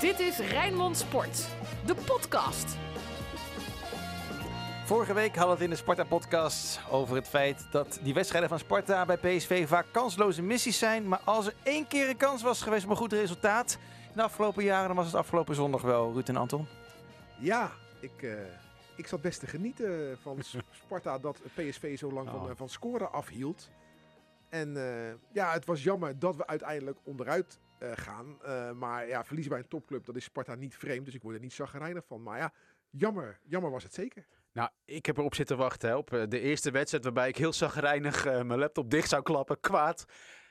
Dit is Rijnmond Sport, de podcast. Vorige week hadden we het in de Sparta-podcast over het feit dat die wedstrijden van Sparta bij PSV vaak kansloze missies zijn. Maar als er één keer een kans was geweest op een goed resultaat in de afgelopen jaren, dan was het afgelopen zondag wel, Ruud en Anton. Ja, ik, eh, ik zat best te genieten van S- Sparta dat PSV zo lang van, Oh. eh, van scoren afhield. En eh, ja, het was jammer dat we uiteindelijk onderuit eh, gaan. Eh, maar ja, verliezen bij een topclub, dat is Sparta niet vreemd. Dus ik word er niet zagrijnig van. Maar ja, jammer. Jammer was het zeker. Nou, ik heb erop zitten wachten hè, op eh, de eerste wedstrijd waarbij ik heel zagrijnig eh, mijn laptop dicht zou klappen, kwaad.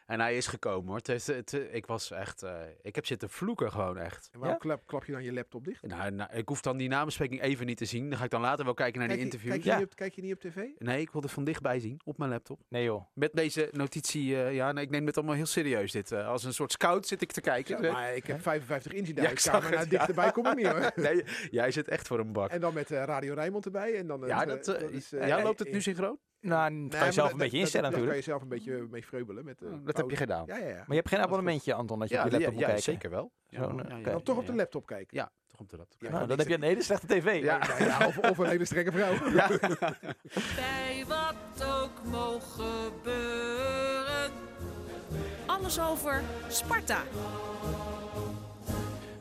En hij is gekomen hoor. Het heeft, het, eh, ik was echt, eh, ik heb zitten vloeken gewoon echt. En waarom Ja? klap, klap je dan je laptop dicht? Nou, nou, ik hoef dan die namenspreking even niet te zien. Dan ga ik dan later wel kijken naar Kijk die je- interview. Kijk je, Ja. niet op, kijk je niet op tv? Nee, ik wilde van dichtbij zien op mijn laptop. Nee joh. Met deze notitie, eh, ja, nee, ik neem het allemaal heel serieus dit. eh, als een soort scout zit ik te kijken. Ja, maar ik heb 55 inch in de Ja, ik zag kamer. het, Nou, ja. dichterbij kom ik niet hoor. nee, jij zit echt voor een bak. En dan met eh, Radio Rijnmond erbij. En dan, het, ja, eh, dat, eh, is, eh, ja, loopt het eh, nu synchroon? Nou, dat Nee, kan je maar zelf dat- een beetje dat- instellen dat- Daar kan natuurlijk. je zelf een beetje mee vreubelen. Met, eh, Oh, Dat heb pauze. je gedaan. Ja, ja, ja. Maar je hebt geen is goed. abonnementje, Anton, dat je Ja, op je laptop moet ja, ja, kijken. zeker wel. Zo, nou, ja, kijk. ja, Dan toch ja, op de ja. laptop kijken. Ja, toch op de laptop. Ja, Nou, niks dan heb je een hele slechte tv. Ja. Nou ja, of, of een hele strenge vrouw. Bij wat ook mogen gebeuren. Alles over Sparta.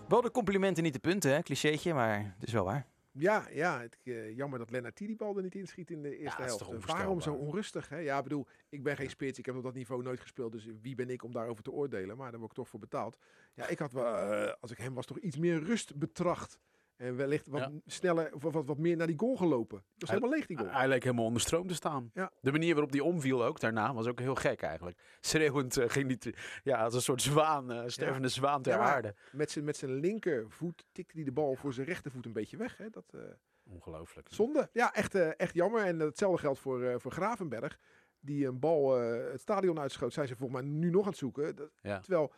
Wel de complimenten, niet de punten, hè? clichétje, maar het is wel waar. Ja, ja het, eh, jammer dat Lennart die bal er niet inschiet in de eerste dat is helft. Eh, toch Waarom zo onvoorstelbaar. onrustig? Hè? Ja, ik bedoel, ik ben geen spits. Ik heb op dat niveau nooit gespeeld. Dus wie ben ik om daarover te oordelen? Maar daar word ik toch voor betaald. Ja, ik had wel, eh, als ik hem was, toch iets meer rust betracht. En wellicht wat Ja. sneller, of wat, wat meer naar die goal gelopen. Het was Hij- helemaal leeg, die goal. Hij leek helemaal onder stroom te staan. Nou, Ja. De manier waarop die omviel ook daarna was ook heel gek eigenlijk. Schreeuwend eh, ging die, ja, als een soort zwaan, eh, stervende zwaan ter Ja, maar- aarde. Met zijn, met zijn linkervoet tikte hij de bal voor zijn rechtervoet een beetje weg. Hè? Dat, eh, Ongelooflijk. Zonde. Ja, echt, eh, echt jammer. En hetzelfde geldt voor, eh, voor Gravenberg. Die een bal eh, het stadion uitschoot. Zijn ze volgens mij nu nog aan het zoeken. Dat- Ja. Terwijl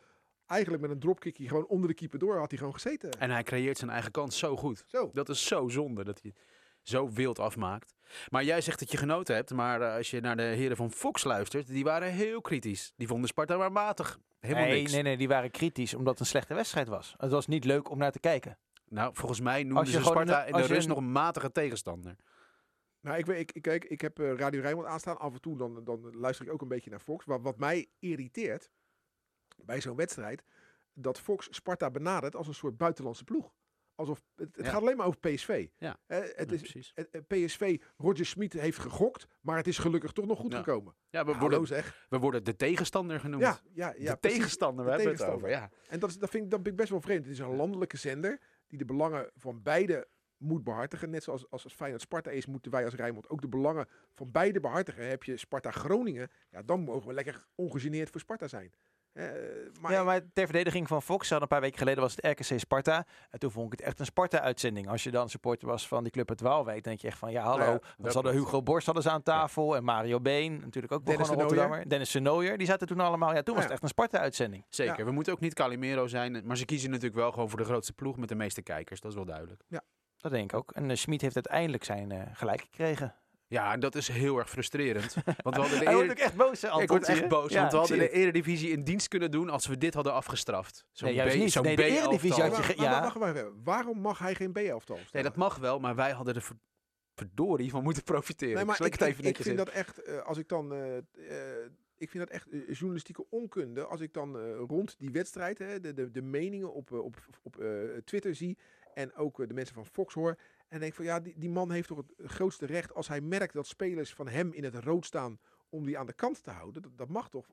eigenlijk met een dropkickie gewoon onder de keeper door had hij gewoon gezeten. En hij creëert zijn eigen kans zo goed. Zo. Dat is zo zonde dat hij zo wild afmaakt. Maar jij zegt dat je genoten hebt, maar eh, als je naar de heren van Fox luistert, die waren heel kritisch. Die vonden Sparta maar matig. Helemaal nee, niks. nee, nee, die waren kritisch omdat het een slechte wedstrijd was. Het was niet leuk om naar te kijken. Nou, volgens mij noemden je ze gewoon Sparta een- in als de je rust een- nog een matige tegenstander. Nou, ik, weet- ik, ik, kijk, ik heb eh, Radio Rijnmond aanstaan. Af en toe dan, dan luister ik ook een beetje naar Fox. Maar wat mij irriteert bij zo'n wedstrijd... dat Fox Sparta benadert als een soort buitenlandse ploeg. Alsof, het het Ja. gaat alleen maar over PSV. Ja. Eh, het Ja, is, precies. het- het PSV, Roger Smit heeft gegokt... maar het is gelukkig toch nog goed Ja. gekomen. Ja, we Hallo worden, zeg. we worden de tegenstander genoemd. Ja, ja, ja. de precies. tegenstander, we De hebben tegenstander. het over. Ja. En dat, is, dat, vind ik, dat vind ik best wel vreemd. Het is een landelijke zender die de belangen van beide moet behartigen. Net zoals als, als Feyenoord Sparta is, moeten wij als Rijnmond ook de belangen van beide behartigen. Heb je Sparta Groningen, ja, dan mogen we lekker ongegeneerd voor Sparta zijn. Eh, maar, ja, maar ter verdediging van Fox, ze hadden een paar weken geleden was het RKC Sparta. En toen vond ik het echt een Sparta-uitzending. Als je dan supporter was van die club uit Waalwijk, denk je echt van ja, hallo. Nou ja, want dat ze hadden klopt. Hugo Borst hadden ze aan tafel en Mario Been, natuurlijk ook Dennis nog een de Nooijer. Rotterdammer. Dennis de Nooijer, die zaten toen allemaal. Ja, toen was Ja. het echt een Sparta-uitzending. Zeker, Ja. we moeten ook niet Calimero zijn. Maar ze kiezen natuurlijk wel gewoon voor de grootste ploeg met de meeste kijkers. Dat is wel duidelijk. Dat denk ik ook. En eh, Schmid heeft uiteindelijk zijn eh, gelijk gekregen. Ja, en dat is heel erg frustrerend. Want we hadden de Hij wordt eer- ook echt boos, hè, Anton, Ik word zie je? echt boos, Ja, want we ik hadden zie de Eredivisie in dienst kunnen doen als we dit hadden afgestraft. Zo'n Nee, juist B- niet. zo'n Nee, de B-elftal. Eredivisie had maar, je maar, ge- ja. maar wacht even, wacht even. waarom mag hij geen B-elftal Nee, dat mag wel, maar wij hadden er ver- verdorie van moeten profiteren. Nee, maar Zal ik, ik, het even ik, ik netjes vind zeggen? dat echt, eh, als ik dan, eh, t- eh, ik vind dat echt eh, journalistieke onkunde. Als ik dan eh, rond die wedstrijd hè, de, de, de meningen op, eh, op, op eh, Twitter zie en ook eh, de mensen van Fox hoor. En denk van ja, die, die man heeft toch het grootste recht als hij merkt dat spelers van hem in het rood staan om die aan de kant te houden. Dat, dat mag toch?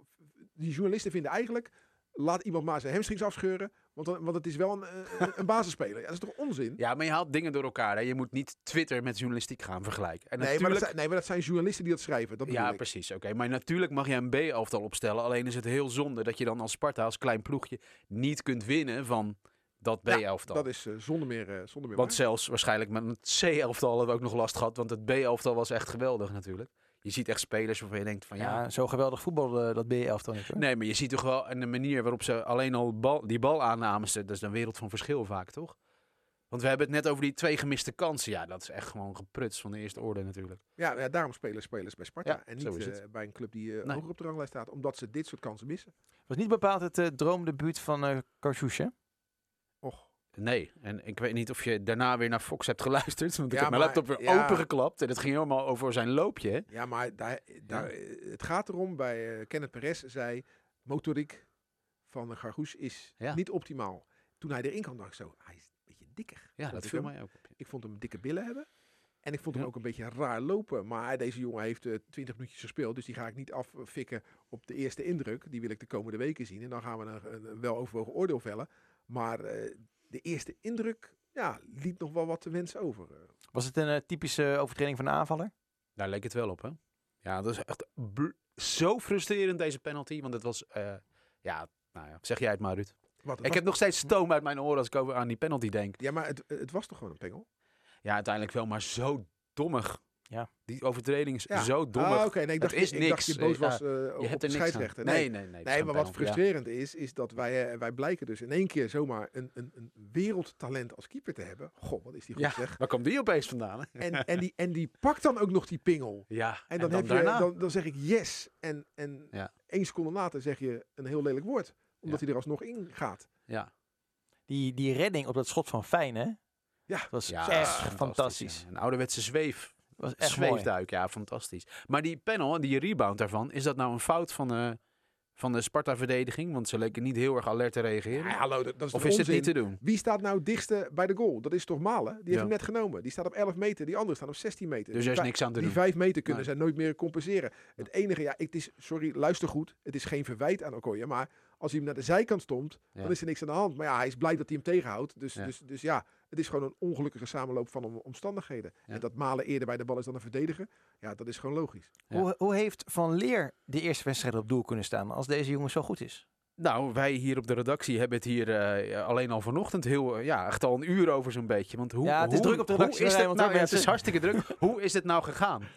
Die journalisten vinden eigenlijk, laat iemand maar zijn hamstrings afscheuren, want, dan, want het is wel een, eh, een, een basisspeler. Ja, dat is toch onzin? Ja, maar je haalt dingen door elkaar. Hè. Je moet niet Twitter met journalistiek gaan vergelijken. En Nee maar, dat natuurlijk... zijn, nee, maar dat zijn journalisten die dat schrijven. Dat bedoel Ja, ik. precies. Oké, maar natuurlijk mag je een B-elftal opstellen. Alleen is het heel zonde dat je dan als Sparta, als klein ploegje, niet kunt winnen van dat Ja, B-elftal. Dat is eh, zonder meer, eh, zonder meer waar. Want zelfs waarschijnlijk met het C-elftal hebben we ook nog last gehad. Want het B-elftal was echt geweldig natuurlijk. Je ziet echt spelers waarvan je denkt van ja. Ja, zo geweldig voetbal eh, dat B-elftal niet. hoor. Nee, maar je ziet toch wel en de manier waarop ze alleen al bal, die bal aannamen. Dat is een wereld van verschil vaak, toch? Want we hebben het net over die twee gemiste kansen. Ja, dat is echt gewoon gepruts van de eerste orde natuurlijk. Ja, ja, daarom spelen spelers bij Sparta. Ja, en zo niet is eh, het. bij een club die eh Nee. hoger op de ranglijst staat. Omdat ze dit soort kansen missen. Het was niet bepaald het eh, droomdebuut van eh Cartouche. Och, Nee, en ik weet niet of je daarna weer naar Fox hebt geluisterd. Want ik Ja, heb mijn maar- laptop weer ja. opengeklapt. En het ging helemaal over zijn loopje. hè? Ja, maar daar, daar, eh, het gaat erom, bij eh, Kenneth Perez zei, motoriek van Gargoes is Ja. niet optimaal. Toen hij erin kwam, dacht ik zo, hij is een beetje dikker. Ja, Vond dat ik viel hem. mij ook op. ja. Ik vond hem dikke billen hebben. En ik vond hem Ja. ook een beetje raar lopen. Maar deze jongen heeft eh 20 minuutjes gespeeld. Dus die ga ik niet affikken op de eerste indruk. Die wil ik de komende weken zien. En dan gaan we een, een- een weloverwogen oordeel vellen. Maar eh, de eerste indruk ja, liet nog wel wat te wensen over. eh. Was het een eh, typische overtreding van de aanvaller? Daar leek het wel op, hè? Ja, dat is echt bl- zo frustrerend, deze penalty. Want het was, eh, ja, nou ja, zeg jij het maar, Ruud. Wat, het Ik was- heb nog steeds stoom uit mijn oren als ik over aan die penalty denk. Ja, maar het, het was toch gewoon een pengel? Ja, uiteindelijk wel, maar zo dommig. Ja. Die overtreding is Ja. zo dommig. Ah, oké. Nee, ik Het dacht, is ik, ik dacht niks. je boos Eh, was ja, eh, je op hebt de er niks aan. scheidsrechter. Nee, nee, nee. het is Nee, geen maar wat penalty, ja. frustrerend is, is dat wij, eh, wij blijken dus in één keer zomaar een, een, een wereldtalent als keeper te hebben. Goh, wat is die goed Ja, zeg. waar komt die opeens vandaan? hè? En, en, die, en die pakt dan ook nog die pingel. Ja, En dan, heb daarna. je, dan, dan zeg ik yes. En, en Ja. één seconde later zeg je een heel lelijk woord. Omdat hij er alsnog in gaat. Ja. Die, die redding op dat schot van Fijn, hè? Ja. Dat was Ja, echt fantastisch. ja. Een ouderwetse zweef. Dat was echt mooi. Zweefduik, ja, fantastisch. Maar die panel en die rebound daarvan, is dat nou een fout van, eh, van de Sparta-verdediging? Want ze leken niet heel erg alert te reageren. Nou Ja, hallo, dat, dat is of toch is het onzin? niet te doen? Wie staat nou dichtste bij de goal? Dat is toch Malen? Die heeft Ja. hem net genomen. Die staat op 11 meter. Die anderen staan op 16 meter. Dus Die er is vij- niks aan te die doen. vijf meter kunnen Nee. zij nooit meer compenseren. Het enige, ja, het is, sorry, luister goed. Het is geen verwijt aan Okoye, maar als hij hem naar de zijkant stond, Ja. dan is er niks aan de hand. Maar ja, hij is blij dat hij hem tegenhoudt. Dus Ja. ja, dus, dus ja het is gewoon een ongelukkige samenloop van om- omstandigheden. Ja. En dat Malen eerder bij de bal is dan een verdediger, ja, dat is gewoon logisch. Ja. Hoe, hoe heeft Van Leer de eerste wedstrijd op doel kunnen staan als deze jongen zo goed is? Nou, wij hier op de redactie hebben het hier eh, alleen al vanochtend heel, eh, ja, echt al een uur over zo'n beetje. Want hoe, Ja, het is hoe- druk op de hoe redactie, Is Marijn, het, want nou, wij ja, het is mensen- hartstikke druk. Hoe is het nou gegaan?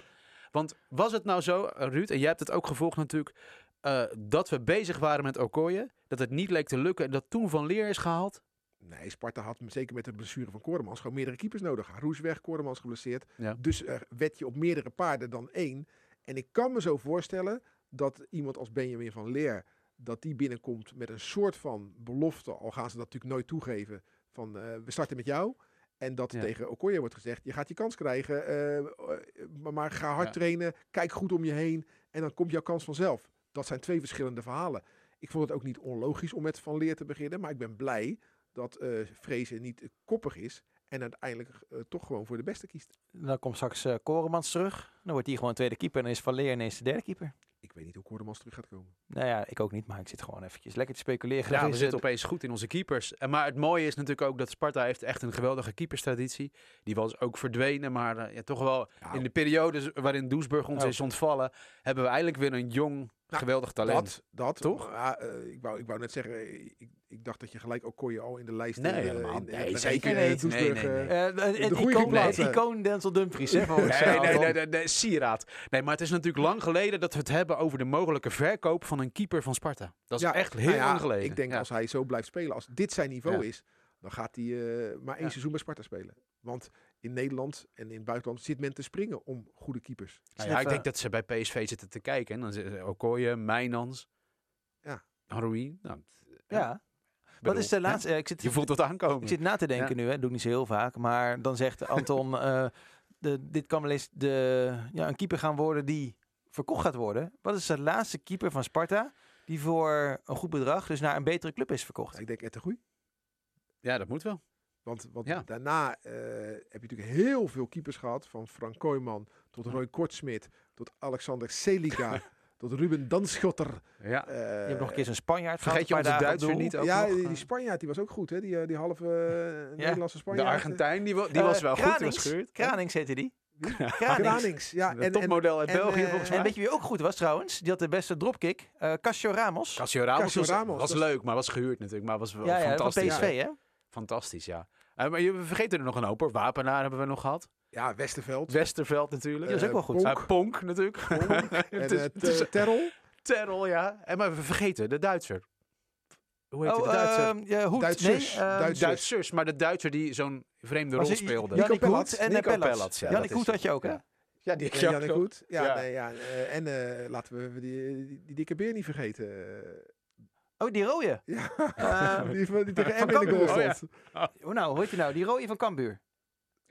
Want was het nou zo, eh, Ruud, en jij hebt het ook gevolgd natuurlijk, eh, dat we bezig waren met Okoye, dat het niet leek te lukken en dat toen Van Leer is gehaald? Nee, Sparta had m- zeker met de blessure van Koremans gewoon meerdere keepers nodig. Roes weg, Koremans geblesseerd. Ja. Dus eh wed je op meerdere paarden dan één. En ik kan me zo voorstellen dat iemand als Benjamin van Leer, dat die binnenkomt met een soort van belofte, al gaan ze dat natuurlijk nooit toegeven, van eh, we starten met jou. En dat Ja. tegen Okoye wordt gezegd, je gaat je kans krijgen, eh, eh, maar- maar ga hard Ja. trainen, kijk goed om je heen en dan komt jouw kans vanzelf. Dat zijn twee verschillende verhalen. Ik vond het ook niet onlogisch om met Van Leer te beginnen, maar ik ben blij dat eh Vrezen niet eh, koppig is en uiteindelijk eh, toch gewoon voor de beste kiest. Dan komt straks eh Koremans terug. Dan wordt hij gewoon tweede keeper. En dan is Van Leer ineens de derde keeper. Ik weet niet hoe Koordemans terug gaat komen. Nou ja, ik ook niet, maar ik zit gewoon eventjes lekker te speculeren. Ja, Er we is, zitten eh, opeens goed in onze keepers. En, maar het mooie is natuurlijk ook dat Sparta heeft echt een geweldige keeperstraditie. Die was ook verdwenen, maar eh, ja, toch wel in de periode waarin Doesburg ons Oh. is ontvallen, hebben we eindelijk weer een jong, geweldig talent. Dat, dat. Toch? Ja, eh, ik, wou, ik wou net zeggen, eh, ik, ik dacht dat je gelijk ook Okoye al in de lijst... Nee, in, eh, helemaal in- niet. in- Nee, in- zeker in, eh, niet. Nee, Doesburg, nee, eh, eh, nee. het, het goede icoon, het geplaatst, eh. icoon Denzel Dumfries. Hè, volgens, eh, Nee, nee, Anton. nee, nee, nee, sieraad. Nee, maar het is natuurlijk lang geleden dat we het hebben over de mogelijke verkoop van een keeper van Sparta. Dat is ja, echt heel nou ja, lang geleden. Ik denk Ja. als hij zo blijft spelen, als dit zijn niveau Ja. is, dan gaat hij eh, maar één Ja. seizoen bij Sparta spelen. Want in Nederland en in het buitenland zit men te springen om goede keepers. Nou ja, ik Sniffen. denk dat ze bij PSV zitten te kijken. En dan zitten Okoye, Mijnans, Ja. Haroui. Nou, Ja. Wat bedoel, is de hè? laatste? eh, ik, zit, Je voelt dat aankomen. ik zit na te denken nu, hè. dat doe ik niet zo heel vaak. Maar dan zegt Anton, eh, de, dit kan wel eens de, ja, een keeper gaan worden die verkocht gaat worden. Wat is de laatste keeper van Sparta die voor een goed bedrag, dus naar een betere club is verkocht? Ik denk Ed de Groei. Ja, dat moet wel. Want, want Ja. daarna eh, heb je natuurlijk heel veel keepers gehad. Van Frank Kooijman tot Roy Kortsmit, tot Alexander Seliga, tot Ruben Ah, Danschotter. Ja. eh, Je hebt nog een keer zo'n Spanjaard gehad, Vergeet je een paar onze dagen op Duitser doel. niet ook ja, nog, die- eh. die Spanjaard die was ook goed, hè? Die, eh, die halve eh, Nederlandse De Spanjaard. Argentijn, die, wa- die was Eh, wel goed. Die was Kranings. gehuurd. Kranings heette die. Kranings. Kranings. eh, ja. Een topmodel uit en, België eh, volgens En mij. weet je wie ook goed was trouwens? Die had de beste dropkick. eh Casio Ramos. Cassio Ramos, Cassio was, Ramos, was dat is- leuk, maar was gehuurd natuurlijk. Maar was wel ja, ja, van fantastisch. PSV, hè? Fantastisch, ja. Eh, maar je, we vergeten er nog een hoop hoor. Wapenaar hebben we nog gehad. ja, Westerveld. Westerveld natuurlijk. Die was ook Eh, wel goed. Bonk. Eh, Ponk natuurlijk. en, het is- eh, het is- Ter- Terrel. Terrel, ja. En, maar we vergeten de Duitser. Hoe heet Oh, de Duitser? ehm ja, Hoed. Duitsers. Nee, ehm, Duits- Duitsers, maar de Duitser die zo'n vreemde was rol het- speelde. ja. Jannik Nico Hoed Pellats. en Nico Pellat. Pellats, ja, Jannik dat Hoed is had je ook, hè? ja. Ja, die Ja, Jannik ook. Hoed. Ja, Ja. Nee, ja. eh, en eh, laten we die, die, die dikke beer niet vergeten. eh, Oh, die rode. Ja, Eh, die, van- die tegen Van Emmen in de goal oh Cambuur. stond. Hoe nou, hoe heet die nou? Die rode van Kambuur.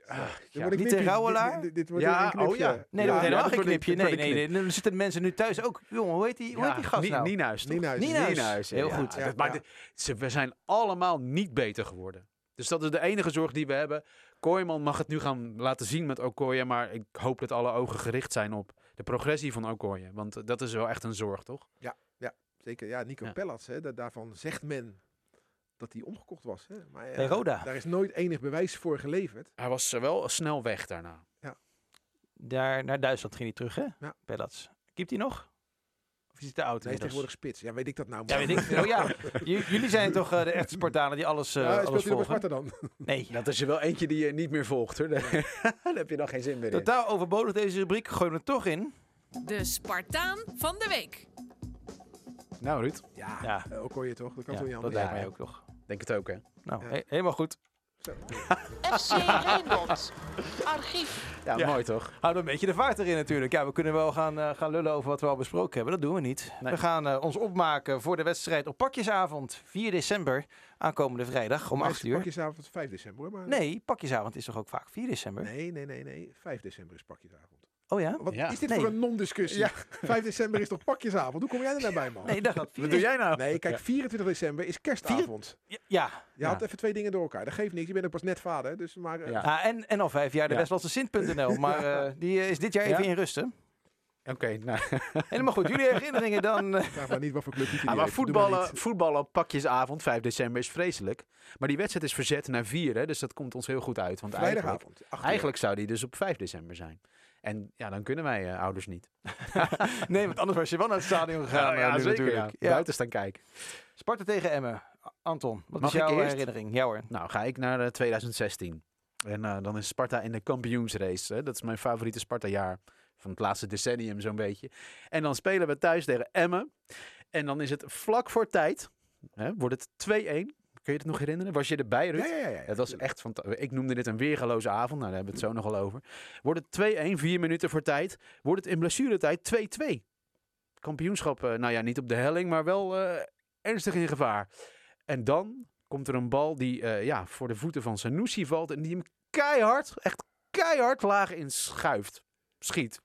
Dan moet ik Niet knippen. tegen Rauwelaar? Dit- Dit, dit wordt Ja, weer een knipje. oh ja. Nee, Ja, dat wordt ja, helemaal dat geen wordt knipje. een- Nee, dat wordt nee, een nee. Dan zitten de mensen nu thuis ook. Jongen, hoe heet die, hoe heet die gast nou? Nienhuis, toch? Nienhuis. Nienhuis. Nienhuis, Heel ja. goed. Dat Ja, maakt ja. het- ze, we zijn allemaal niet beter geworden. Dus dat is de enige zorg die we hebben. Kooijman mag het nu gaan laten zien met Okoye, maar ik hoop dat alle ogen gericht zijn op de progressie van Okoye. Want eh, dat is wel echt een zorg, toch? Zeker, ja, Nico Ja. Pellats, hè, da- daarvan zegt men dat hij omgekocht was. Hè. Maar, eh, ja, Bij Roda. Daar is nooit enig bewijs voor geleverd. Hij was eh, wel snel weg daarna. Daar naar Duitsland ging hij terug, hè? Ja. Pellats. Kiept hij nog? Of is hij te oud? Hij inmiddels? is tegenwoordig spits. Ja, weet ik dat nou? Ja, man? weet ik. veel. Oh ja, J- jullie zijn toch eh, de echte Spartanen die alles, eh, Ja, speelt alles hij nog bij volgen? Sparta dan? Nee. Dat is er wel eentje die je niet meer volgt, hoor. Dan heb je dan geen zin meer in. Totaal overbodig deze rubriek. Gooi hem er toch in. De Spartaan van de week. Nou, Ruud. Ja, Ja. eh, ook hoor je toch? Dat kan Ja, toch niet dat anders? lijkt Ja, mij ja. ook toch. Denk het ook, hè? Nou, Ja. he- helemaal goed. FC Rijnmond. Archief. Ja, Ja. mooi toch? Houden we een beetje de vaart erin natuurlijk. Ja, we kunnen wel gaan, eh, gaan lullen over wat we al besproken hebben. Dat doen we niet. We gaan eh, ons opmaken voor de wedstrijd op pakjesavond. 4 december, aankomende vrijdag om 8 uur. Pakjesavond 5 december. hoor, Maar Nee, pakjesavond is toch ook vaak 4 december? Nee, nee, nee, nee. 5 december is pakjesavond. Oh ja? Wat Ja. is dit Nee. voor een non-discussie? Ja. 5 december is toch pakjesavond? Hoe kom jij er nou bij, man? Nee, ik dacht dat Wat doe jij nou? Nee, kijk, 24 december is kerstavond. Ja. ja. Je had even twee dingen door elkaar. Dat geeft niks. Je bent ook pas net vader. Dus maar, eh, Ja. Ah, en, en al vijf jaar de Ja. Westlandse Sint.nl. Maar eh, die eh, is dit jaar even Ja. in rusten. Oké, nou. Helemaal goed. Jullie herinneringen dan... eh, vraag maar niet wat voor club je Ja, maar voetballen. voetballen, voetballen op pakjesavond, 5 december, is vreselijk. Maar die wedstrijd is verzet naar 4, hè, dus dat komt ons heel goed uit. Want eigenlijk, Vrijdagavond. acht uur. eigenlijk zou die dus op 5 december zijn. En ja, dan kunnen wij eh, ouders niet. nee, want anders was je wel naar het stadion gegaan. eh, nu natuurlijk. ja. Ja. Buiten staan kijken. Sparta tegen Emmen. A- Anton, wat Mag is ik jouw eh, eerst? herinnering? Ja hoor. Nou, ga ik naar eh, 2016. En eh, dan is Sparta in de kampioensrace. Hè. Dat is mijn favoriete Sparta-jaar van het laatste decennium zo'n beetje. En dan spelen we thuis tegen Emmen. En dan is het vlak voor tijd. Hè, wordt het 2-1. Kun je het nog herinneren? Was je erbij, Ruud? Ja, ja, ja. ja, Het was echt fantastisch. Ik noemde dit een weergaloze avond. Nou, daar hebben we het zo nogal over. Wordt het 2-1, vier minuten voor tijd. Wordt het in blessuretijd 2-2. Kampioenschap, eh, nou ja, niet op de helling, maar wel eh, ernstig in gevaar. En dan komt er een bal die eh, ja, voor de voeten van Sanusi valt. En die hem keihard, echt keihard laag in schuift. Schiet.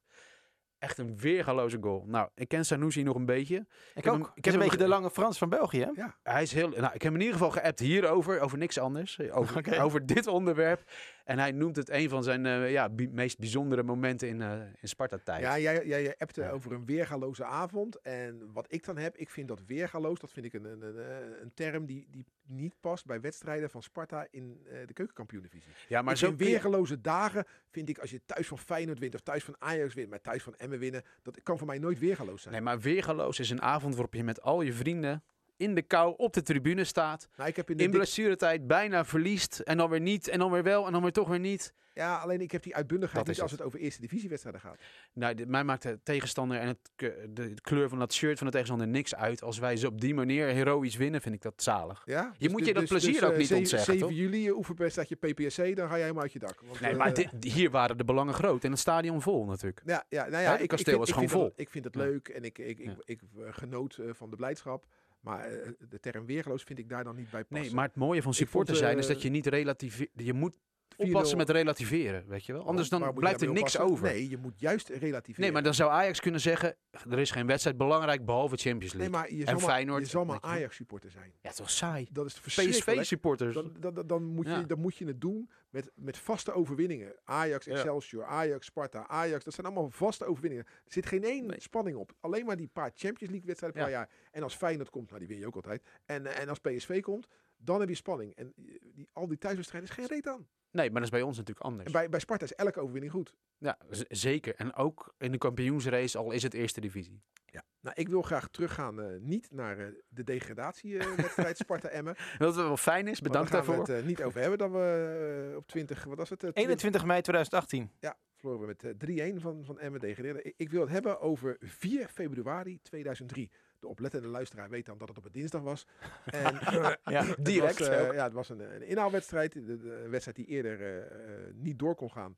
Echt een weergaloze goal. Nou, ik ken Sanusi nog een beetje. Ik, ook. heb hem- ik ik heb heb een hem beetje de ge- lange Frans van België. hè? Hij is heel, nou, ik heb hem in ieder geval geappt hierover, over niks anders, eh, over, Oké. over dit onderwerp. En hij noemt het een van zijn eh, ja, bi- meest bijzondere momenten in, eh, in Sparta-tijd. Ja, jij, jij, jij appte Ja. over een weergaloze avond. En wat ik dan heb, ik vind dat weergaloos, dat vind ik een, een, een, een term die, die niet past bij wedstrijden van Sparta in eh, de keukenkampioen-divisie. Ja, Maar maar zo'n zo kun je- weergaloze dagen vind ik als je thuis van Feyenoord wint of thuis van Ajax wint, maar thuis van Emmen winnen, dat kan voor mij nooit weergaloos zijn. Nee, maar weergaloos is een avond waarop je met al je vrienden in de kou op de tribune staat. Nou, ik heb in de In dik- blessuretijd bijna verliest. En dan weer niet, en dan weer wel, en dan weer toch weer niet. ja, alleen ik heb die Dat uitbundigheid is niet als het. het over eerste divisiewedstrijden gaat. Nou, dit- mij maakt de tegenstander en het, ke- de kleur van dat shirt van de tegenstander niks uit. Als wij ze op die manier heroïs winnen, vind ik dat zalig. Ja? Je moet je dat plezier ook eh, niet zeven- ontzeggen, 7 juli eh, oefenpest dat je PPSC, dan ga jij helemaal uit je dak. Want, Nee, eh, maar dit- hier waren de belangen groot en het stadion vol natuurlijk. Ja, ja, nou Hè, ja, het kasteel was ik gewoon vind dat- vol. ik vind het Ja. leuk en ik, ik, ik, Ja. ik, eh, genoot eh, van de blijdschap. Maar eh, de term weergeloos vind ik daar dan niet bij passen. Nee, maar het mooie van vond, supporter zijn is eh, dat je niet relativeert. Je moet oppassen met relativeren, weet je wel. Anders Waar dan moet je blijft er daarmee niks oppassen? over. Nee, Nee, je moet juist relativeren. maar dan zou Ajax kunnen zeggen: er is geen wedstrijd belangrijk behalve Champions nee, League. maar je en zal maar, je Feyenoord, zal maar weet je wel. Ajax-supporter zijn. Ja, toch saai. Dat is verschrikkelijk. PSV-supporters. Dan, dan, dan- dan, moet je, Dus Ja. dan moet je het doen met, met vaste overwinningen. Ajax, Ja. Excelsior, Ajax, Sparta, Ajax. Dat zijn allemaal vaste overwinningen. Er zit geen één spanning op. Alleen maar die paar Champions League wedstrijden per Ja. jaar. En als Feyenoord komt, nou die win je ook altijd. En, eh, en als PSV komt, dan heb je spanning. En eh, die, al die thuiswedstrijden is geen reet aan. Nee, maar dat is bij ons natuurlijk anders. En bij, bij Sparta is elke overwinning goed. Ja, z- zeker. En ook in de kampioensrace, al is het eerste divisie. Nou, ik wil graag teruggaan eh, niet naar eh, de degradatiewedstrijd Sparta-Emmen. Want Wat wel fijn is, daar bedankt gaan daarvoor. we het eh, niet over hebben. Dat we eh, op 20, wat was het? eh, 20 21 mei 2018. Ja, verloren we met eh, 3-1 van, van MWD gereden. Ik, ik wil het hebben over 4 februari 2003. De oplettende luisteraar weet dan dat het op een dinsdag was. En, Ja, het direct was, eh, ook. ja, het was een, een inhaalwedstrijd. De, de- een wedstrijd die eerder eh, eh, niet door kon gaan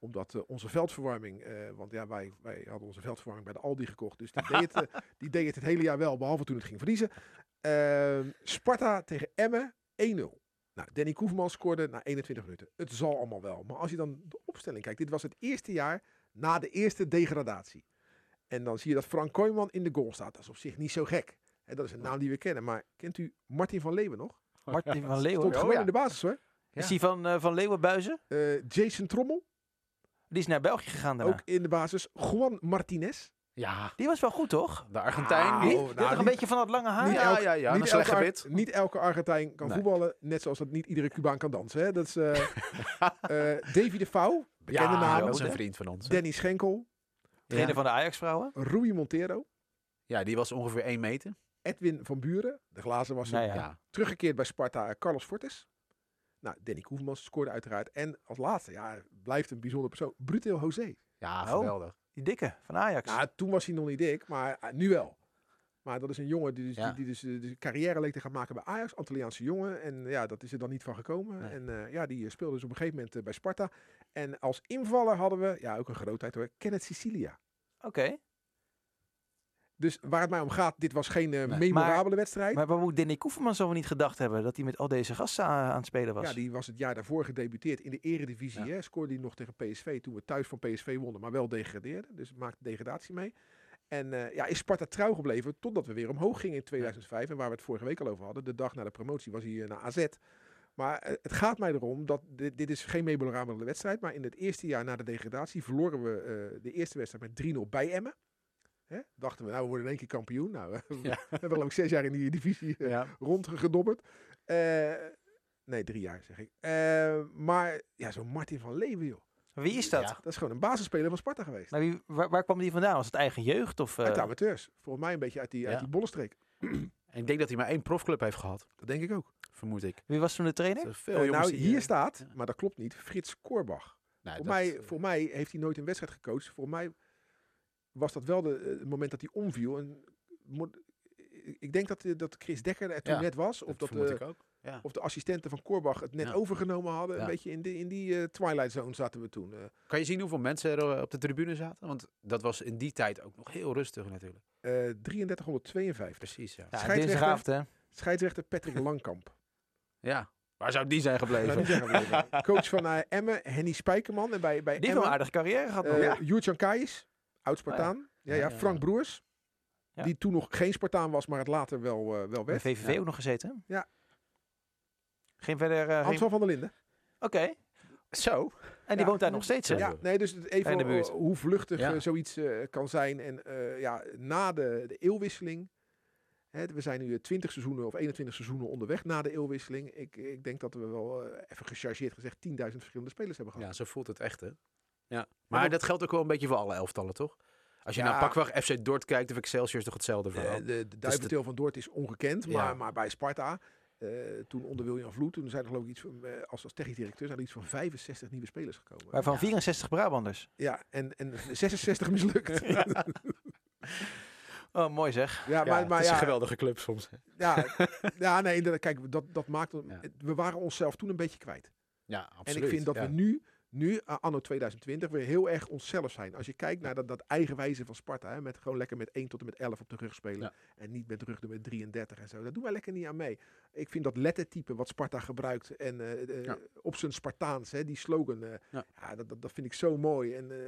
omdat eh, onze veldverwarming, eh, want ja, wij, wij hadden onze veldverwarming bij de Aldi gekocht. Dus die deed, het, eh, die deed het het hele jaar wel, behalve toen het ging verliezen. Ehm, Sparta tegen Emmen 1-0. Nou, Danny Koeverman scoorde na 21 minuten. Het zal allemaal wel. Maar als je dan de opstelling kijkt, dit was het eerste jaar na de eerste degradatie. En dan zie je dat Frank Kooijman in de goal staat. Dat is op zich niet zo gek. Hè, dat is een naam die we kennen. Maar kent u Martin van Leeuwen nog? Martin van Leeuwen. Stond gewoon oh ja. in de basis hoor. Is die van, eh, van Leeuwenbuizen? Eh, Jason Trommel, Die is naar België gegaan daarna. ook in de basis. Juan Martinez. Ja, Die was wel goed, toch? de Argentijn. Niet? die- Die nou, had toch een niet- beetje van dat lange haar? niet ja, elk- ja, ja, een niet, slecht elke, Ar- gebit. niet elke Argentijn kan Nee. voetballen. Net zoals dat niet iedere Cubaan kan dansen. Hè? Dat is eh eh, Davy de Vouw, bekende Ja, naam. dat is een hè? vriend van ons. Danny Schenkel, Trainer van de Ajax-vrouwen? Rui Montero, Ja, die was ongeveer 1 meter. Edwin van Buren, de glazen was Nou ja. Ja. teruggekeerd bij Sparta, eh, Carlos Fortes. Nou, Danny Koevermans scoorde uiteraard. En als laatste, ja, blijft een bijzonder persoon, Bruto José. Ja, Oh. geweldig. Die dikke, van Ajax. Nou, toen was hij nog niet dik, maar eh, nu wel. Maar dat is een jongen die dus, Ja. die, die dus eh, de carrière leek te gaan maken bij Ajax, Antilliaanse jongen. En ja, dat is er dan niet van gekomen. Nee. En eh, ja, die eh, speelde dus op een gegeven moment eh, bij Sparta. En als invaller hadden we, ja, ook een grootheid hoor, Kenneth Sicilia. Oké. Dus waar het mij om gaat, dit was geen eh, Nee. memorabele wedstrijd. Maar waar moet Danny Koeverman zo niet gedacht hebben? Dat hij met al deze gasten aan aan het spelen was. Ja, die was het jaar daarvoor gedebuteerd in de eredivisie. Hè? Scoorde hij nog tegen PSV toen we thuis van PSV wonnen, maar wel degradeerden. Dus maakte degradatie mee. En eh, ja, is Sparta trouw gebleven totdat we weer omhoog gingen in 2005. En waar we het vorige week al over hadden, de dag na de promotie was hij eh, naar AZ. Maar eh, het gaat mij erom dat dit, dit is geen memorabele wedstrijd. Maar in het eerste jaar na de degradatie verloren we eh, de eerste wedstrijd met 3-0 bij Emmen. Hè? Dachten we, nou we worden in één keer kampioen. Nou, we hebben geloof ik zes jaar in die divisie eh, Ja. rondgedobberd. Eh, nee, drie jaar zeg ik. Eh, maar ja, zo'n Martin van Leeuwen, joh. Wie is dat? Ja. Dat is gewoon een basisspeler van Sparta geweest. Maar wie, waar, waar kwam die vandaan? Was het eigen jeugd? Of, eh, Uit de amateurs. Volgens mij een beetje uit die, uit Ja. die bollenstreek. En ik denk dat hij maar één profclub heeft gehad, Dat denk ik ook. vermoed ik. wie was toen de trainer? Er zijn Veel Eh, jongens nou, die, hier eh, staat, ja. maar dat klopt niet, Frits Korbach. nee, Voor dat, mij, eh, voor mij heeft hij nooit een wedstrijd gecoacht. Voor mij was dat wel de, eh, het moment dat hij omviel. En, mo- ik- ik denk dat, eh, dat Chris Dekker er toen Ja, net was. Of dat, vermoed eh, ik ook. Ja. of de assistenten van Korbach het net Ja. overgenomen hadden. Ja. Een beetje in, die in die eh, twilight zone zaten we toen. Eh, Kan je zien hoeveel mensen er eh, op de tribune zaten? Want dat was in die tijd ook nog heel rustig natuurlijk. eh 3352. Precies, ja. Ja, scheidsrechter. Eh, dinsdagavond, hè? Scheidsrechter Patrick Langkamp. Ja. Waar zou die zijn Nou, die gebleven? zeggen we even. Coach van eh, Emmen, Henny Spijkerman. En bij, bij Die heeft wel een Emmen, aardige carrière gehad. nog. eh Joert-Jan Kaijs, oud-Spartaan. ja. Ja, Ja, ja, Frank Broers, Ja. die toen nog geen Spartaan was, maar het later wel, eh, wel Bij werd. VVV ook nog gezeten. Ja. Geen verder... eh, geen- Oké. Antoine van der Linden. Zo. En die Ja. woont daar nog steeds, hè? Ja, nee, dus het- even In de buurt. eh, hoe vluchtig Ja. eh, zoiets eh, kan zijn. En eh, ja, na de, de eeuwwisseling. Hè, we zijn nu eh, 20 seizoenen of 21 seizoenen onderweg na de eeuwwisseling. Ik, ik denk dat we wel, eh, even gechargeerd gezegd, 10.000 verschillende spelers hebben gehad. Ja, zo voelt het echt, hè? Ja. Maar dat geldt ook wel een beetje voor alle elftallen, toch? Als je Ja. naar Pakwag FC Dort kijkt, of Excelsior is toch hetzelfde verhaal? De, de, de duiventeel van Doort is ongekend, Ja. maar, maar bij Sparta, eh, toen onder William Vloed, toen zijn er geloof ik iets van, eh, als, als technisch directeur, zijn er iets van 65 nieuwe spelers gekomen. Waarvan 64 Brabanders. Ja, en, en 66 mislukt. ja, Oh, mooi zeg. ja, maar, maar het is ja, een geweldige club soms. hè. ja, ja, nee, dat, kijk, dat, dat maakt, Ja. we waren onszelf toen een beetje kwijt. Ja, absoluut. en ik vind dat ja. we nu, nu eh, anno 2020, weer heel erg onszelf zijn. Als je kijkt naar dat, dat eigenwijze van Sparta, hè, met gewoon lekker met 1 tot en met 11 op de rug spelen. Ja. En niet met rug met 33 en zo. Daar doen wij lekker niet aan mee. Ik vind dat lettertype wat Sparta gebruikt en eh, eh, Ja. op zijn Spartaans, hè, die slogan, eh, ja. Ja. dat, dat, dat vind ik zo mooi. En eh,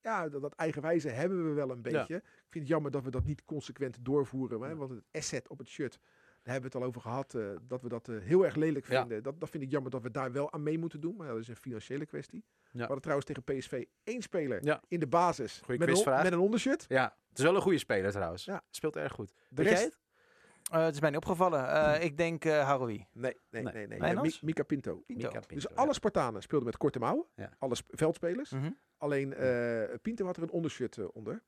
ja, dat, dat eigenwijze hebben we wel een beetje. Ik vind het jammer dat we dat niet consequent doorvoeren. Hè, want het asset op het shirt, daar hebben we het al over gehad, eh, dat we dat eh, heel erg lelijk Ja. vinden. Dat, dat vind ik jammer dat we daar wel aan mee moeten doen. Maar ja, dat is een financiële kwestie. We hadden trouwens tegen PSV één speler Ja. in de basis Goeie met, een, quizvraag. met een ondershirt. Ja, het is wel een goede speler trouwens. Ja. Speelt erg goed. De Weet jij rest? het? Eh, het is mij niet opgevallen. Eh, ik denk eh Haroui. Nee, nee, nee. Nee. nee, Wijnands? Eh, Mi- Mika Pinto. Pinto. Mika Pinto, Dus ja. alle Spartanen speelden met korte mouwen. Ja. Hm. Alle sp- veldspelers. Mhm. Alleen eh, Pinto had er een ondershirt eh, onder.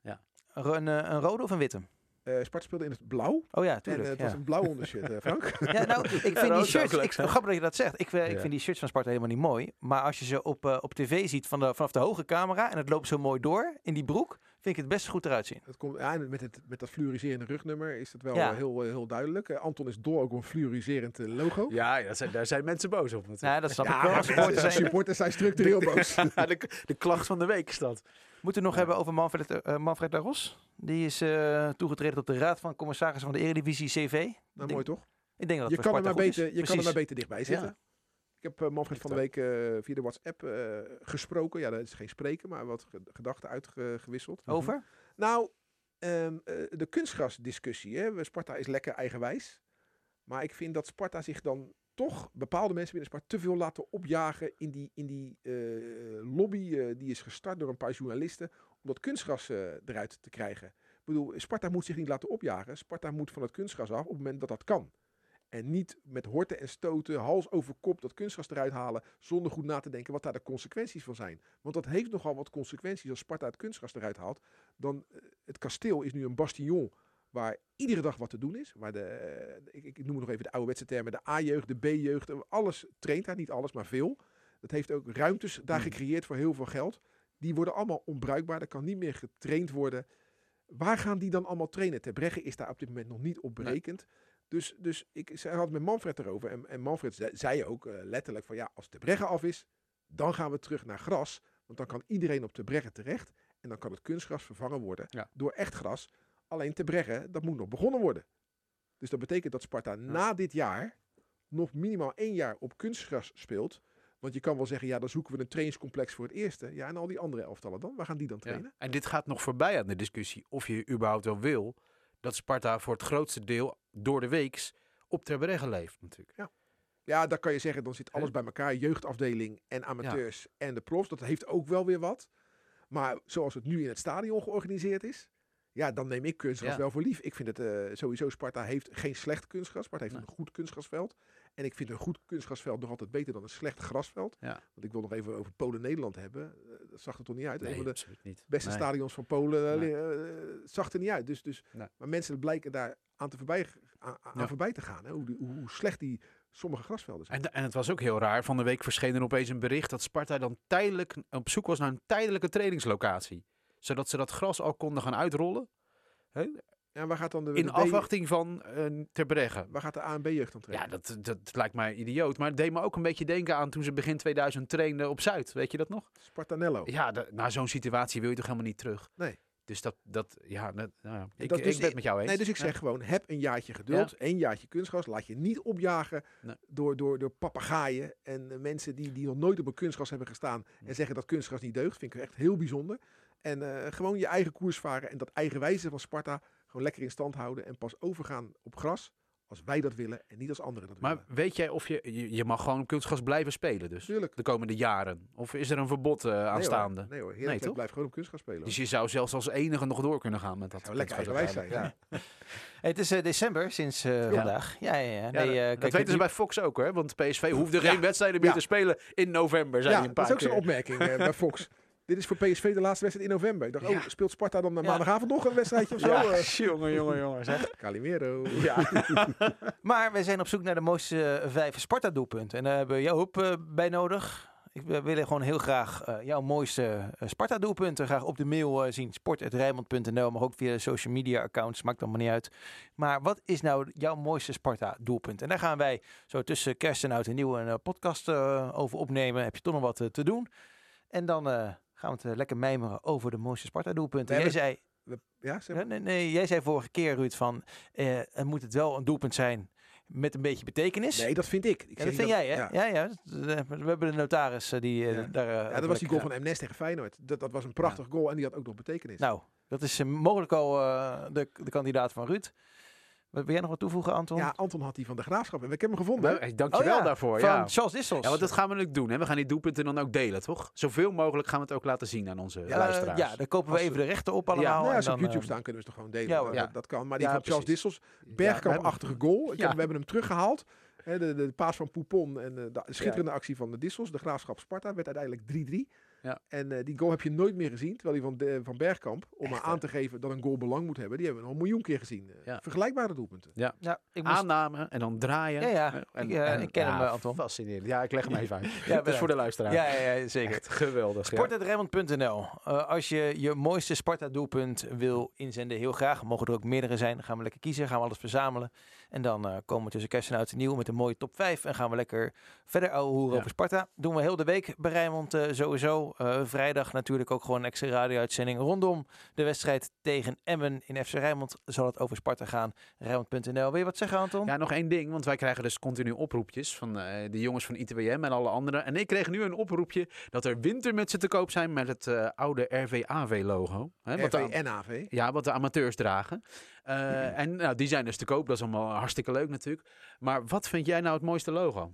Ro- een, eh, een rode of een witte? Eh Sparta speelde in het blauw. Oh ja, En eh, tuurlijk. het ja. was een blauw ondershirt, eh, Frank. Ja, nou, ik vind dat die zou shirts, ook leuk ik, zijn. grappig dat je dat zegt. Ik, eh, ik Ja. vind die shirts van Sparta helemaal niet mooi. Maar als je ze op, eh, op tv ziet van de, vanaf de hoge camera en het loopt zo mooi door in die broek, vind ik het best goed eruit zien. Dat komt, ja, en met, het, met dat fluoriserende rugnummer is dat wel Ja. eh, heel, eh, heel duidelijk. Eh, Anton is dol ook op een fluoriserend eh, logo. Ja, ja, dat zijn, daar zijn mensen boos op. natuurlijk. Ja, dat snap ik wel. Als supporters de zijn. We supporters zijn structureel boos. Nou, de, de klacht van de week is dat. moeten het nog hebben over Manfred, eh, Manfred Laros. Die is eh, toegetreden tot de Raad van Commissarissen van de Eredivisie CV. nou, mooi toch? Ik denk dat Je, het kan voor er, Sparta maar goed is. beter, je kan er Precies. maar beter dichtbij zitten. Ja. Ik heb eh, Manfred van de week eh, via de WhatsApp eh, gesproken. Ja, dat is geen spreken, maar wat ge- gedachten uitgewisseld. Over? Nou, ehm, eh, de kunstgrasdiscussie. Hè? We- Sparta is lekker eigenwijs. Maar ik vind dat Sparta zich dan toch bepaalde mensen binnen Sparta te veel laten opjagen in die, in die eh, lobby eh, die is gestart door een paar journalisten om dat kunstgras eh, eruit te krijgen. Ik bedoel, Sparta moet zich niet laten opjagen. Sparta moet van het kunstgras af op het moment dat dat kan. En niet met horten en stoten, hals over kop, dat kunstgras eruit halen zonder goed na te denken wat daar de consequenties van zijn. Want dat heeft nogal wat consequenties als Sparta het kunstgras eruit haalt dan eh, het kasteel is nu een bastion waar iedere dag wat te doen is. Waar de, eh, ik, ik noem nog even de ouderwetse termen, de A-jeugd, de B-jeugd, eh, alles traint daar, niet alles, maar veel. Dat heeft ook ruimtes daar gecreëerd voor heel veel geld. Die worden allemaal onbruikbaar, er kan niet meer getraind worden. Waar gaan die dan allemaal trainen? Ter Bregge is daar op dit moment nog niet op berekend. Dus, dus ik ze had het met Manfred erover. En, en Manfred ze- zei ook eh, letterlijk van ja, als Ter Bregge af is, dan gaan we terug naar gras. Want dan kan iedereen op Ter Bregge terecht. En dan kan het kunstgras vervangen worden Ja. door echt gras. Alleen Ter Bregge, dat moet nog begonnen worden. Dus dat betekent dat Sparta na dit jaar nog minimaal één jaar op kunstgras speelt. Want je kan wel zeggen, ja, dan zoeken we een trainingscomplex voor het eerste. Ja, en al die andere elftallen dan? Waar gaan die dan trainen? Ja. En dit gaat nog voorbij aan de discussie of je überhaupt wel wil dat Sparta voor het grootste deel door de weeks op Ter Bregge leeft natuurlijk. Ja, dan kan je zeggen, dan zit alles bij elkaar. Jeugdafdeling en amateurs en de profs. Dat heeft ook wel weer wat. Maar zoals het nu in het stadion georganiseerd is... Ja, dan neem ik kunstgras Ja. wel voor lief. Ik vind het eh, sowieso, Sparta heeft geen slecht kunstgras. Sparta heeft een goed kunstgrasveld. En ik vind een goed kunstgrasveld nog altijd beter dan een slecht grasveld. Ja. Want ik wil nog even over Polen-Nederland hebben. Eh, dat zag er toch niet uit? Een van de absoluut niet. beste Nee. stadions van Polen eh, Nee. li- eh, zag er niet uit. Dus, dus, Nee. Maar mensen blijken daar aan, te voorbij, g- aan, aan Ja. voorbij te gaan. Hè? Hoe, die- hoe, hoe slecht die sommige grasvelden zijn. En, en het was ook heel raar. Van de week verscheen er opeens een bericht dat Sparta dan tijdelijk op zoek was naar een tijdelijke trainingslocatie. Zodat ze dat gras al konden gaan uitrollen. Ja, waar gaat dan de, de In B- afwachting van eh Ter Bregge. Waar gaat de A en B-jeugd dan Ja, trainen? dat, dat lijkt mij idioot. Maar het deed me ook een beetje denken aan toen ze begin 2000 trainden op Zuid. Weet je dat nog? Spartanello. Ja, na zo'n situatie wil je toch helemaal niet terug? Oh. Nee. Dus dat, dat ja, dat- nou ja, ik, dat ik dus- ben het met jou eens. Nee, dus ik zeg gewoon, heb een jaartje geduld. één jaartje kunstgras. Laat je niet opjagen Nee. door, door, door papegaaien en eh, mensen die, die nog nooit op een kunstgras hebben gestaan. En zeggen dat kunstgras niet deugt. Vind ik echt heel bijzonder. En eh, gewoon je eigen koers varen en dat eigen wijze van Sparta gewoon lekker in stand houden. En pas overgaan op gras als wij dat willen en niet als anderen dat Maar willen. weet jij of je, je, je mag gewoon op kunstgras blijven spelen dus? Natuurlijk. De komende jaren? Of is er een verbod eh, aanstaande? Nee hoor, nee hoor. Nee, Heerlijk, toch? blijft gewoon op kunstgras spelen. Dus hoor. je zou zelfs als enige nog door kunnen gaan met dat. Zou lekker kunstgras eigenwijs zijn. uiteindelijk. Ja. Hey, het is eh, december sinds eh, vandaag. Ja, ja, ja. Nee, eh, Ja, dat- kijk, dat het weten ze nieuw- bij Fox ook hoor, want PSV hoefde geen wedstrijden meer Ja. te spelen in november. Zijn Ja, die een paar dat is ook zo'n keer. opmerking eh, bij Fox. Dit is voor PSV de laatste wedstrijd in november. Ik dacht, oh, speelt Sparta dan eh, maandagavond nog een wedstrijdje of zo? Ja, Eh, jongen, jongen, jongen. Zeg. Calimero. Ja. Maar wij zijn op zoek naar de mooiste eh, vijf Sparta-doelpunten. En daar hebben we jouw hulp eh, bij nodig. Ik wil willen gewoon heel graag eh, jouw mooiste eh, Sparta-doelpunten graag op de mail eh, zien. sport.rijmond.nl, maar ook via de social media-accounts. Maakt allemaal niet uit. Maar wat is nou jouw mooiste Sparta-doelpunt? En daar gaan wij zo tussen kerst en oud en nieuw een eh, podcast eh, over opnemen. Heb je toch nog wat eh, te doen? En dan eh, gaan we het eh, lekker mijmeren over de mooiste Sparta-doelpunten. We Jij hebben- zei... We- Ja, zeg Ja, maar. nee, nee, jij zei vorige keer, Ruud, van eh, er moet het wel een doelpunt zijn met een beetje betekenis. Nee, dat vind ik. ik Ja, zeg dat vind je jij, hè? Ja. Ja, ja. dat- eh, We hebben de notaris eh, die eh, Ja. daar... eh, Ja, dat was die goal lekker- van MNES tegen Feyenoord. Dat, dat was een prachtig goal en die had ook nog betekenis. Nou, dat is eh, mogelijk al eh, de, de kandidaat van Ruud. Wat wil jij nog wat toevoegen, Anton? Oh, ja, Anton had die van de Graafschap en ik heb hem gevonden. Hey, dankjewel ja, daarvoor. Van ja. Charles Dissels. Ja, want dat gaan we natuurlijk doen. Hè? We gaan die doelpunten dan ook delen, toch? Zoveel mogelijk gaan we het ook laten zien aan onze Eh, luisteraars. ja, daar kopen we Als- even de rechten op allemaal. Nou ja, en als ze op dan, YouTube eh, staan, kunnen we ze toch gewoon delen. ja, Ja, hoor. dat, Ja. dat kan. Maar die Ja, van Charles precies. Dissels, Ja, bergkampachtige goal. Ik Ja. heb, we hebben hem teruggehaald. Hè, De, de, paas van Poupon en eh, de schitterende actie van de Dissels. De Graafschap Sparta werd uiteindelijk 3-3. Ja. En eh, die goal heb je nooit meer gezien. Terwijl die van, de, van Bergkamp, om maar aan te geven dat een goal belang moet hebben, die hebben we al een miljoen keer gezien. Eh, Ja. Vergelijkbare doelpunten. Ja, ik moest... Aanname en dan draaien. Ja, ja. Ik, eh, ik ken hem, eh, Anton. Fascinerend. Ja, ik leg hem even uit. ja, dus bedankt. voor de luisteraar. ja, ja, ja, zeker. Echt geweldig. ja. Sport.Rijnmond.nl. Eh, als je je mooiste Sparta-doelpunt wil inzenden, heel graag. Mogen er ook meerdere zijn. Dan gaan we lekker kiezen. Gaan we alles verzamelen. En dan eh, komen we tussen kerst en oud en nieuw met een mooie top 5. En gaan we lekker verder ouwe hoeren Ja. over Sparta. Doen we heel de week bij Rijnmond eh, sowieso. Eh, vrijdag natuurlijk ook gewoon een extra radio-uitzending rondom de wedstrijd tegen Emmen in FC Rijnmond. Zal het over Sparta gaan. Rijnmond.nl. Wil je wat zeggen, Anton? Ja, nog één ding, want wij krijgen dus continu oproepjes van eh, de jongens van ITWM en alle anderen. En ik kreeg nu een oproepje dat er wintermutsen te koop zijn met het eh, oude RVAV-logo. RV en AV. Ja, wat de amateurs dragen. Eh, Mm-hmm. En nou, die zijn dus te koop. Dat is allemaal hartstikke leuk natuurlijk. Maar wat vind jij nou het mooiste logo?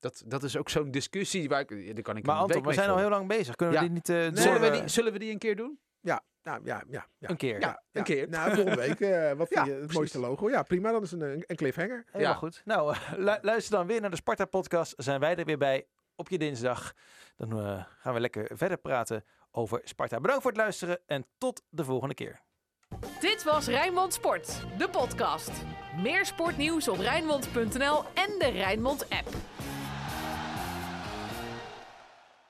Dat, dat is ook zo'n discussie waar ik... ja, Daar kan ik maar een Anton, week we mee zijn al vullen. heel lang bezig. Kunnen Ja. we dit niet eh, door, Zullen, we eh, die, zullen we die een keer doen? Nou ja, ja, ja. een keer? Ja, een keer. Nou, volgende week. eh, wat Ja, vind je het precies. mooiste logo? Ja, prima. Dat is een, een een cliffhanger. Helemaal Ja. goed. Nou, eh, lu- luister dan weer naar de Sparta Podcast. Zijn wij er weer bij op je dinsdag. Dan eh, gaan we lekker verder praten over Sparta. Bedankt voor het luisteren en tot de volgende keer. Dit was Rijnmond Sport, de podcast. Meer sportnieuws op Rijnmond.nl en de Rijnmond app.